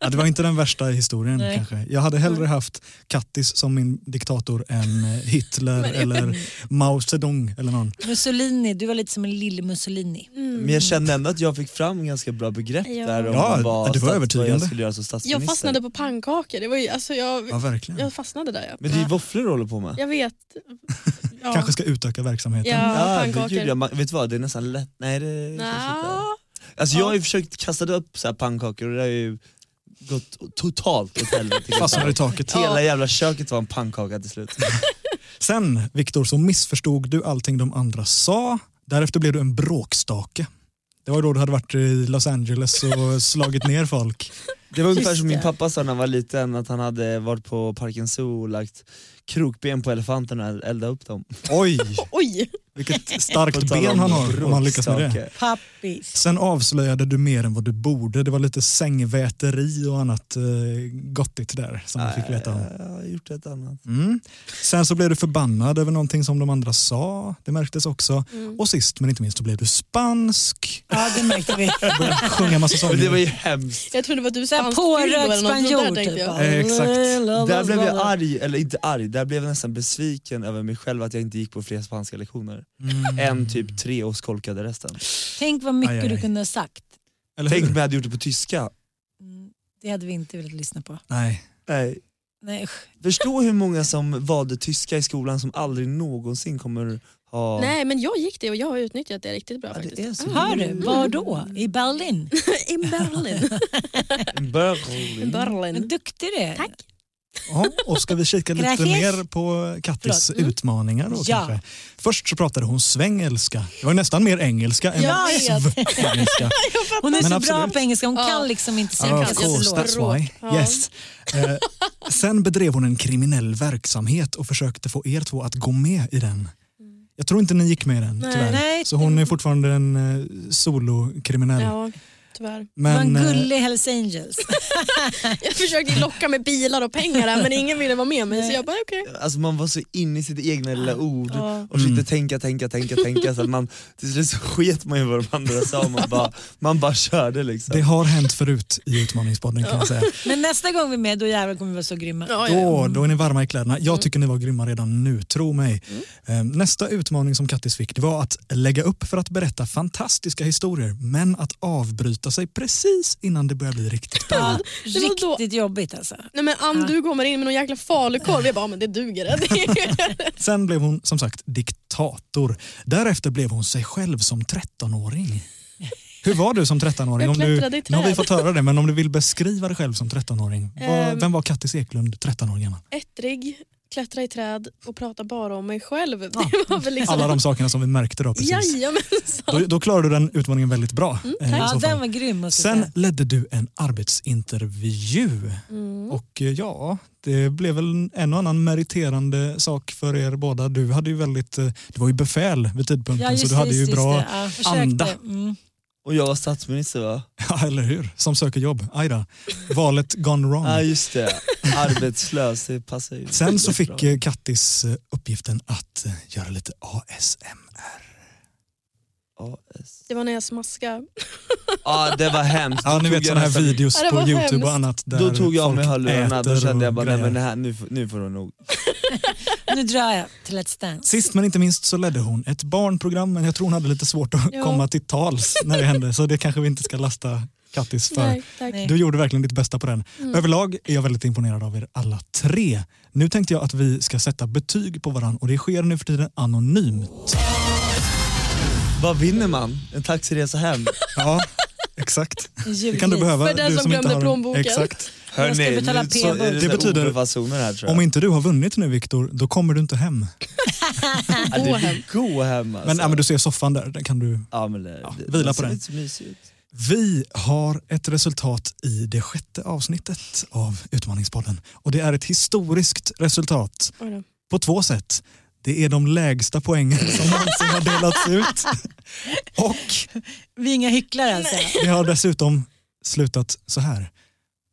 A: Ja, det var inte den värsta historien
B: Nej.
A: kanske. Jag hade hellre haft Kattis som min diktator än eh, Hitler eller Mao Zedong eller någon.
B: Mussolini, du var lite som en lille Mussolini.
C: Mm. Men jag kände ändå att jag fick fram ganska bra begrepp
D: Ja.
C: där om
A: Ja,
C: vad,
A: det var
C: stats- vad
A: övertygande.
C: jag skulle göra som statsminister.
D: Jag fastnade på pannkakor. Det var ju, alltså, jag,
A: Ja, verkligen.
D: jag fastnade där. Ja.
C: Men det är ju våfflor du håller på med.
D: Jag vet. Ja.
A: Kanske ska utöka verksamheten.
D: Ja,
C: men
D: pannkakor.
C: gud, jag, man, vet du vad, det är nästan lätt. Nej, det kanske inte.
D: Nja.
C: Alltså jag har ju försökt kasta upp så här pannkakor och det har ju gått totalt åt helvete.
A: Fastnar i taket.
C: Hela jävla köket var en pannkaka till slut.
A: Sen, Viktor, så missförstod du allting de andra sa. Därefter blev du en bråkstake. Det var då du hade varit i Los Angeles och slagit ner folk.
C: Det var ungefär
D: Just
C: som min
D: det.
C: pappa sa när han var liten, att han hade varit på Parken Zoo och lagt krokben på elefanterna och eldat upp dem.
A: Oj,
D: Oj,
A: vilket
C: På
A: starkt
C: tal
A: ben
C: om
A: han har om han lyckas med det.
C: bråkstake.
B: Pappis.
A: Sen avslöjade du mer än vad du borde. Det var lite sängväteri och annat eh, gottigt där som du
C: Ah,
A: fick veta om.
C: Nej, Jag har gjort ett annat.
A: Mm. Sen så blev du förbannad över någonting som de andra sa. Det märktes också.
B: Mm.
A: Och sist men inte minst så blev du spansk.
B: Ja, det märkte vi.
A: Började sjunga massa sånger.
C: Men det var ju hemskt.
D: jag trodde det var du
B: Såhär
D: spansk fyllo
B: pårökt
D: eller något
B: spanjor
D: sånt där tänkte
B: typ.
D: jag.
A: Eh, exakt.
C: Där blev jag arg, eller inte arg, där blev jag nästan besviken över mig själv att jag inte gick på fler spanska
A: Mm.
C: lektioner. En typ tre och skolkade resten.
B: Tänk vad mycket
A: Aj, aj, aj.
B: du kunde ha sagt.
A: Eller
C: Tänk
A: hur?
C: om jag hade gjort det på tyska.
B: Mm, Det hade vi inte velat lyssna på.
A: Nej.
C: Nej.
B: Nej, usch.
C: Förstå hur många som valde tyska i skolan som aldrig någonsin kommer ha...
D: Nej, men jag gick det och jag har utnyttjat det riktigt bra
C: Ja,
D: faktiskt.
C: det är så.
B: Hör
D: Mm.
B: du, var då? I Berlin?
D: I Berlin.
C: Berlin.
D: Berlin.
B: Duktig du är.
D: Tack.
A: Ja, och ska vi kika lite
B: Gracias.
A: mer på Kattis
B: Förlåt. Mm.
A: utmaningar då
B: Ja.
A: kanske? Först så pratade hon svengelska. Det var ju nästan mer engelska än
B: Ja, jag vet.
A: svengelska.
B: Hon
A: Men
B: är så bra
A: absolut.
B: på engelska, hon
D: Ja.
B: kan liksom inte säga
A: Ah, of
D: jag
A: course,
D: förstår.
A: that's why.
D: Ja.
A: Yes. Eh, sen bedrev hon en kriminell verksamhet och försökte få er två att gå med i den. Jag tror inte ni gick med i den
D: Mm. Nej,
A: tyvärr.
B: nej.
A: Så hon är fortfarande en eh, solokriminell.
D: Ja, tyvärr.
B: Det var en
A: Men, eh,
B: gullig Hells Angels.
D: Jag försökte locka med bilar och pengar här, men ingen ville vara med mig så jag bara okej.
C: Alltså man var så inne i sitt egna lilla ord
D: Ja.
C: och
A: Mm.
C: försökte tänka, tänka, tänka, tänka. Så att man, till slut så sket man ju vad de andra sa, man bara, man bara körde liksom.
A: det har hänt förut i Utmaningspodden kan jag säga.
B: Men nästa gång vi är med, då jävlar kommer vi vara så grymma.
D: Ja, Mm. ja.
A: Då, då är ni varma i kläderna. Jag tycker ni var grymma redan nu, tro mig.
D: Mm.
A: Eh, Nästa utmaning som Kattis fick det var att lägga upp för att berätta fantastiska historier men att avbryta sig precis innan det börjar bli riktigt bra.
D: Det var då-
B: Riktigt jobbigt alltså.
A: Eh,
D: Nej men Ann du kommer in med någon jäkla falukorv. Jag bara, men det duger. Det-
A: Sen blev hon som sagt diktator. Därefter blev hon sig själv som 13-åring. Hur var du som 13-åring?
D: Jag
A: Om du,
D: klättrade i
A: nu har vi
D: träd.
A: fått höra det, men om du vill beskriva dig själv som 13-åring. Vad-
D: Ehm.
A: Vem var Kattis Eklund 13-åring gammal?
B: Alltså,
D: Ettrig, klättra i träd och prata bara om mig själv. Det var väl liksom...
A: Alla de sakerna som vi märkte då precis.
D: Jajamensan.
A: Då, då klarade du den utmaningen väldigt bra. eh, i så
B: Mm, Ja,
A: fall.
B: den var grym. måste jag
A: Sen
B: säga.
A: ledde du en arbetsintervju.
B: Mm.
A: Och eh, ja, det blev väl en och annan meriterande sak för er båda. Du, hade ju väldigt, eh, du var ju befäl vid tidpunkten
B: Ja,
A: så
B: just,
A: du hade
B: just,
A: ju
B: just
A: bra,
B: det. Ja, försökte.
A: anda.
B: Mm.
C: Och jag var statsminister va?
A: ja, eller hur, som söker jobb. Aj då. Valet gone wrong.
C: Ja just det, arbetslös, det passar ju.
A: Sen så fick eh, Kattis eh, uppgiften att eh, göra lite ASMR.
C: AS.
D: Det var när jag smaskade.
C: Ja det var hemskt.
A: Ja,
C: Då
A: ni
C: tog
A: vet
C: jag
A: sådana här
C: nästan-
A: videos
D: Ja, det
A: på
D: var
A: Youtube
D: hemskt.
A: och annat där
C: Då tog jag av mig
A: folk
C: hörlurarna, då
A: äter
C: kände jag
A: och
C: bara nej
A: grejer.
C: men det här, nu, får- nu får de nog.
B: Nu drar jag till Let's Dance.
A: Sist men inte minst så ledde hon ett barnprogram men jag tror hon hade lite svårt att
D: Ja.
A: komma till tals när det hände så det kanske vi inte ska lasta Kattis för.
D: Nej, Mm. tack.
B: Nej.
A: Du gjorde verkligen ditt bästa på den. Överlag är jag väldigt imponerad av er alla tre. Nu tänkte jag att vi ska sätta betyg på varandra och det sker nu för tiden anonymt.
C: Vad vinner man? En taxiresa hem?
A: Ja, exakt.
B: En
A: Det kan du
B: julgris.
A: behöva.
D: För den
A: du
D: som glömde
A: inte har en-
D: plånboken.
A: Exakt.
B: Jag ska betala
C: nu- så är
B: p-bot.
C: det,
A: Det
C: det
A: betyder-
C: betyder... här tror jag.
A: Om inte du har vunnit nu Viktor, då kommer du inte hem.
C: Ja,
D: Gå
C: du
D: hem.
C: vill gå hem alltså.
A: Men, ja, men du ser soffan där, den kan du
C: Ja, men det, det,
A: vila
C: det
A: på
C: ser
A: den.
C: inte så mysigt ut.
A: Vi har ett resultat i det sjätte avsnittet av Utmaningspodden och det är ett historiskt resultat
D: Oj då.
A: på två sätt. Det är de lägsta poängen som någonsin har delats ut och
B: Vi är inga hycklare alltså.
A: det har dessutom slutat så här.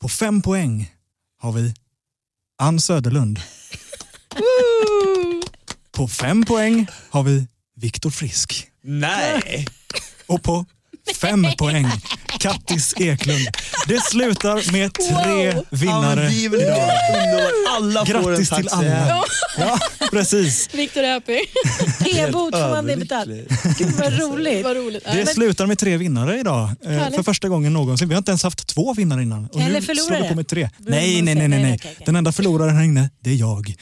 A: På fem poäng har vi Ann Söderlund.
D: Woo!
A: På fem poäng har vi Viktor Frisk.
C: Nej!
A: och på fem poäng Kattis Eklund. Det slutar med tre
D: Wow.
C: Ja,
A: vinnare
C: men det är väl
A: idag.
C: underbart. Alla får en
A: Grattis
C: taxi
A: till alla. Ja, precis.
D: Viktor är happy.
B: P-bot får man det betalt.
C: Överlycklig. Alltså.
B: Gud vad roligt.
D: Vad roligt.
A: Det slutar med tre vinnare idag. Eh,
D: Härligt.
A: för första gången någonsin. Vi har inte ens haft två vinnare innan. Och
B: Eller
A: nu slår vi
B: förlorare.
A: på med tre.
B: Vill
A: Nej,
B: man
A: nej, nej,
B: säga-
A: nej.
B: nej,
A: nej.
B: okej, okej.
A: Den enda förloraren här inne, det är jag.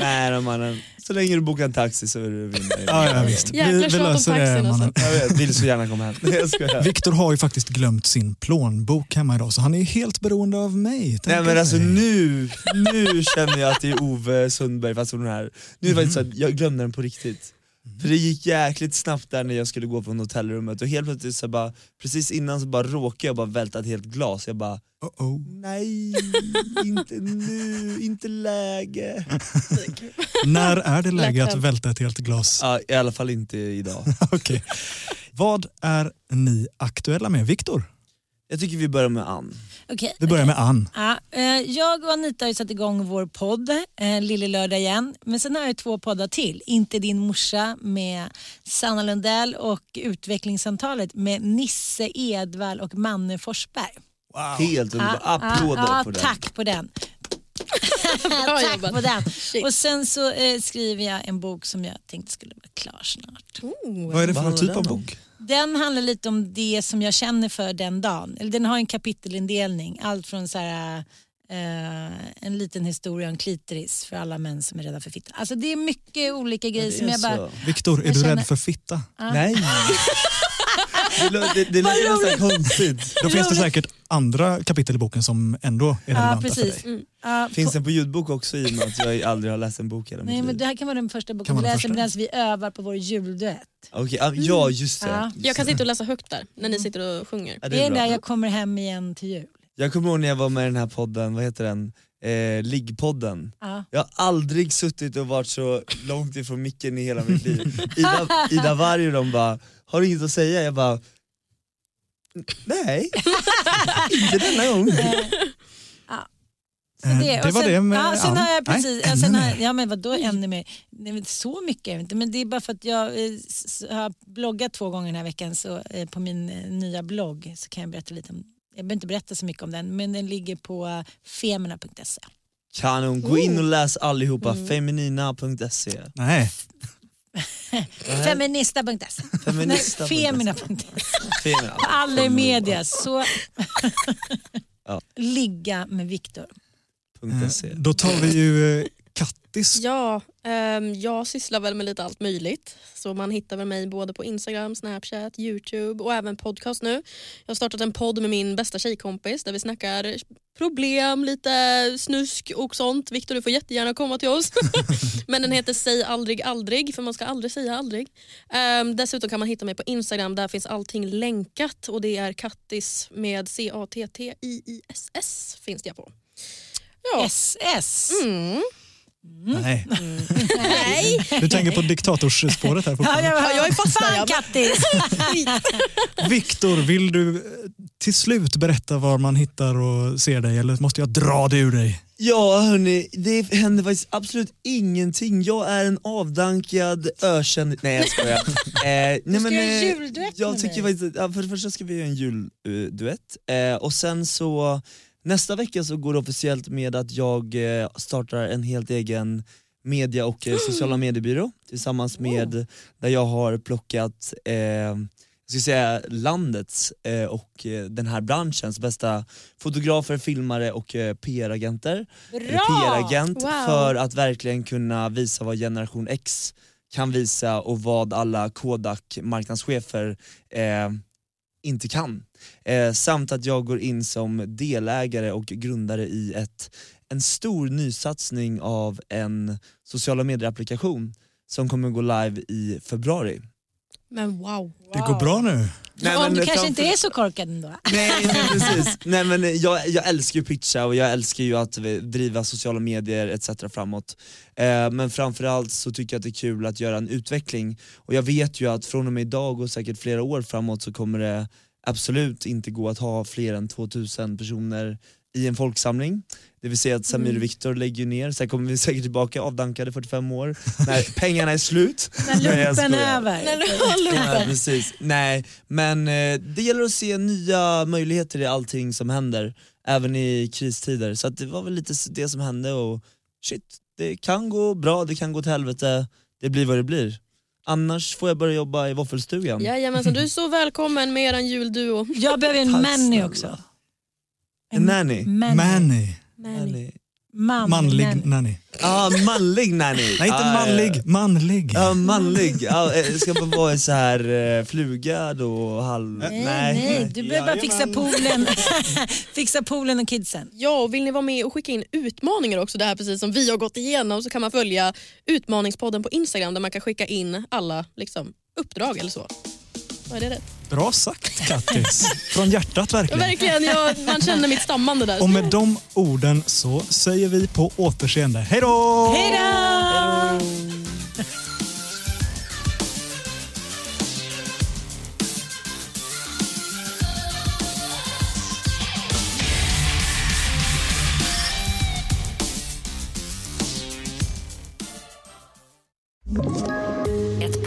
C: Nej då, mannen, så länge du bokar en taxi så är du vinnare.
A: Ja, ja, visst. Vi,
D: Jäklar
A: vi
D: tjat om
A: löser det,
D: taxin alltså.
A: mannen.
C: Jag vet, vill så gärna komma hem. Nej, Jag skojar.
A: Viktor har ju faktiskt glömt sin plånbok hemma idag så han är ju helt beroende av mig.
C: Nej
A: Tänk
C: men
A: er.
C: alltså nu, nu känner jag att det är Ove Sundberg fast hon är här. Nu är det faktiskt så att jag glömde den på riktigt. För det gick jäkligt snabbt där när jag skulle gå från hotellrummet och helt plötsligt så bara, precis innan så bara råkade jag bara välta ett helt glas. Jag bara,
A: Oh, oh.
C: nej, inte nu, inte läge.
A: När är det läge att
D: Lätt.
A: välta ett helt glas
C: Ja, I alla fall inte idag.
A: Okej. Vad är ni aktuella med? Viktor,
C: Jag tycker vi börjar med Ann.
B: Okej.
A: vi börjar med Ann.
B: Ja, eh, jag och Anita har ju satt igång vår podd, eh, Lille lördag igen. Men sen har jag ju två poddar till. Inte din morsa med Sanna Lundell och Utvecklingssamtalet med Nisse Edvall och Manne Forsberg.
C: Helt underbart,
B: Ja,
C: applåder
B: ja,
C: på
B: ja,
C: den.
B: Ah, Tack på den.
D: Bra
B: tack på
D: jobbat.
B: den. Och sen så eh, skriver jag en bok som jag tänkte skulle vara klar snart.
A: Vad är det
C: Vad
A: för
C: handlar
A: typ av
C: den om?
A: bok?
B: Den handlar lite om det som jag känner för den dagen. Eller den har en kapitelindelning. Allt från så här, eh, en liten historia om klitoris för alla män som är rädda för fitta. Alltså det är mycket olika
C: Det
B: grejer
C: är
B: som jag bara... ah.
C: så.
A: Viktor, är
B: Jag
A: du
B: känner-
A: rädd för fitta?
D: Ah,
C: Nej! Det lå- det- det låter nästan konstigt.
A: Då finns det
B: Roligt.
A: säkert andra kapitel i boken som ändå är
B: Ja,
A: relevanta för dig.
B: precis. Ja,
C: Finns den på ljudbok också i och med att jag aldrig har läst en bok i hela
B: Nej,
C: mitt
B: men
C: liv?
B: det här kan vara den första
A: Kan
B: boken
A: vara
B: vi
A: den
B: läser
A: första.
B: medan vi övar på vår julduett.
C: Okej, ah, ja just det.
B: Mm. Ja.
D: Jag kan sitta och läsa högt där när ni sitter och sjunger.
C: Ja,
B: Det är den
C: bra.
B: där jag kommer hem igen till jul.
C: Jag kommer ihåg när jag var med i den här podden, vad heter den? Eh, Liggpodden.
B: Ja.
C: Jag har aldrig suttit och varit så långt ifrån micken i hela mitt liv. Ida, Ida Varg och de bara, har du inget att säga? Jag bara, nej. Inte denna gång.
B: Så
A: Eh,
B: och
A: det var
B: sen,
A: det med-
B: ja, sen
A: ja.
B: har jag
A: Nej,
B: precis,
A: ännu
B: ja, sen har,
A: mer.
B: jag- ja men vadå ännu mer? Nej, men så mycket är det inte men det är bara för att jag eh, s- s- har bloggat två gånger den här veckan så eh, på min eh, nya blogg så kan jag berätta lite om jag behöver inte berätta så mycket om den men den ligger på eh, femina.se.
C: Kanon, gå in och läs allihopa,
B: Mm.
C: feminina.se.
A: Nej,
B: Feminista.se.
C: Feminista.se.
B: Nej, Femina.se.
C: E. Femina.
B: På alla media så
C: Ja.
B: ligga med Viktor.
C: Femina.se.
A: då tar vi ju eh, Kattis.
D: Ja, ehm, jag sysslar väl med lite allt möjligt. Så man hittar väl mig både på Instagram, Snapchat, Youtube och även podcast nu. Jag har startat en podd med min bästa tjejkompis där vi snackar problem, lite snusk och sånt. Viktor du får jättegärna komma till oss. Men den heter Säg aldrig aldrig för man ska aldrig säga aldrig. Ehm, dessutom kan man hitta mig på Instagram, där finns allting länkat och det är Kattis med C-A-T-T-I-I-S-S finns det på. Ja.
B: SS.
D: Mm.
A: Nej.
D: Nej.
A: Du tänker på diktatorspåret här
B: Ja,
A: fortfarande.
B: jag,
D: Ja, jag är fast där,
B: Fan
D: jag bara-
B: Kattis!
A: Viktor, vill du eh, till slut berätta var man hittar och ser dig eller måste jag dra det ur dig?
C: Ja hörni, det händer faktiskt absolut ingenting. Jag är en avdankad, ökänd... Nej jag skojar. eh, nej,
B: Du ska
C: men,
B: göra en
C: eh,
B: julduett
C: jag
B: med
C: tycker
B: mig.
C: faktiskt, att- ja, För det första ska vi göra en julduett, eh, och sen så nästa vecka så går det officiellt med att jag eh, startar en helt egen media och eh, sociala
B: Mm.
C: mediebyrå tillsammans med där jag har plockat eh, jag ska säga landets eh, och eh, den här branschens bästa fotografer, filmare och eh, PR-agenter eller
B: Bra!
C: PR-agent
D: Wow.
C: för att verkligen kunna visa vad generation X kan visa och vad alla Kodak marknadschefer eh, inte kan. Eh, samt att jag går in som delägare och grundare i ett, en stor nysatsning av en sociala medier-applikation som kommer gå live i februari.
D: Men wow.
A: Det går bra nu.
C: Nej,
B: Om
C: men
B: du kanske
C: framför-
B: inte är så korkad ändå.
C: Nej, nej precis. Nej, men eh, jag, jag älskar ju pitcha och jag älskar ju att eh, driva sociala medier etc framåt. Eh, men framförallt så tycker jag att det är kul att göra en utveckling och jag vet ju att från och med idag och säkert flera år framåt så kommer det absolut inte gå att ha fler än 2000 personer i en folksamling. Det vill säga att Samir och Viktor lägger ju ner, sen kommer vi säkert tillbaka avdankade 45 år när pengarna är slut. Nej, jag
B: Lumpen
C: skojar.
B: över.
C: Ja, precis. Nej, men eh, det gäller att se nya möjligheter i allting som händer, även i kristider. Så att det var väl lite s- det som hände och shit, det kan gå bra, det kan gå till helvete, det blir vad det blir. Annars får jag börja jobba i våffelstugan.
D: Jajamensan, du är så välkommen med eran julduo.
B: Jag behöver en
C: Tack
B: manny
C: snälla.
B: också.
C: En nanny.
B: Manny.
A: Manny.
C: Nanny.
B: Man,
A: Manlig
B: nanny.
A: nanny.
C: Ah, manlig nanny.
A: Nej, inte
C: Ah,
A: manlig. Manlig.
C: Ja, manlig. Ja, eh, ska man vara så här eh, flugad och halv...
B: Nej, nej, du behöver bara fixa
C: Jajamän.
B: poolen. fixa poolen och kidsen.
D: Ja, och vill ni vara med och skicka in utmaningar också, det här precis som vi har gått igenom, så kan man följa Utmaningspodden på Instagram där man kan skicka in alla liksom, uppdrag eller så. Vad är det rätt?
A: Bra sagt Kattis. Från hjärtat
D: Ja,
A: verkligen.
D: verkligen, jag, man känner mitt stammande där.
A: Och med de orden så säger vi på återseende. Hej då!
B: Hej då!
E: Ett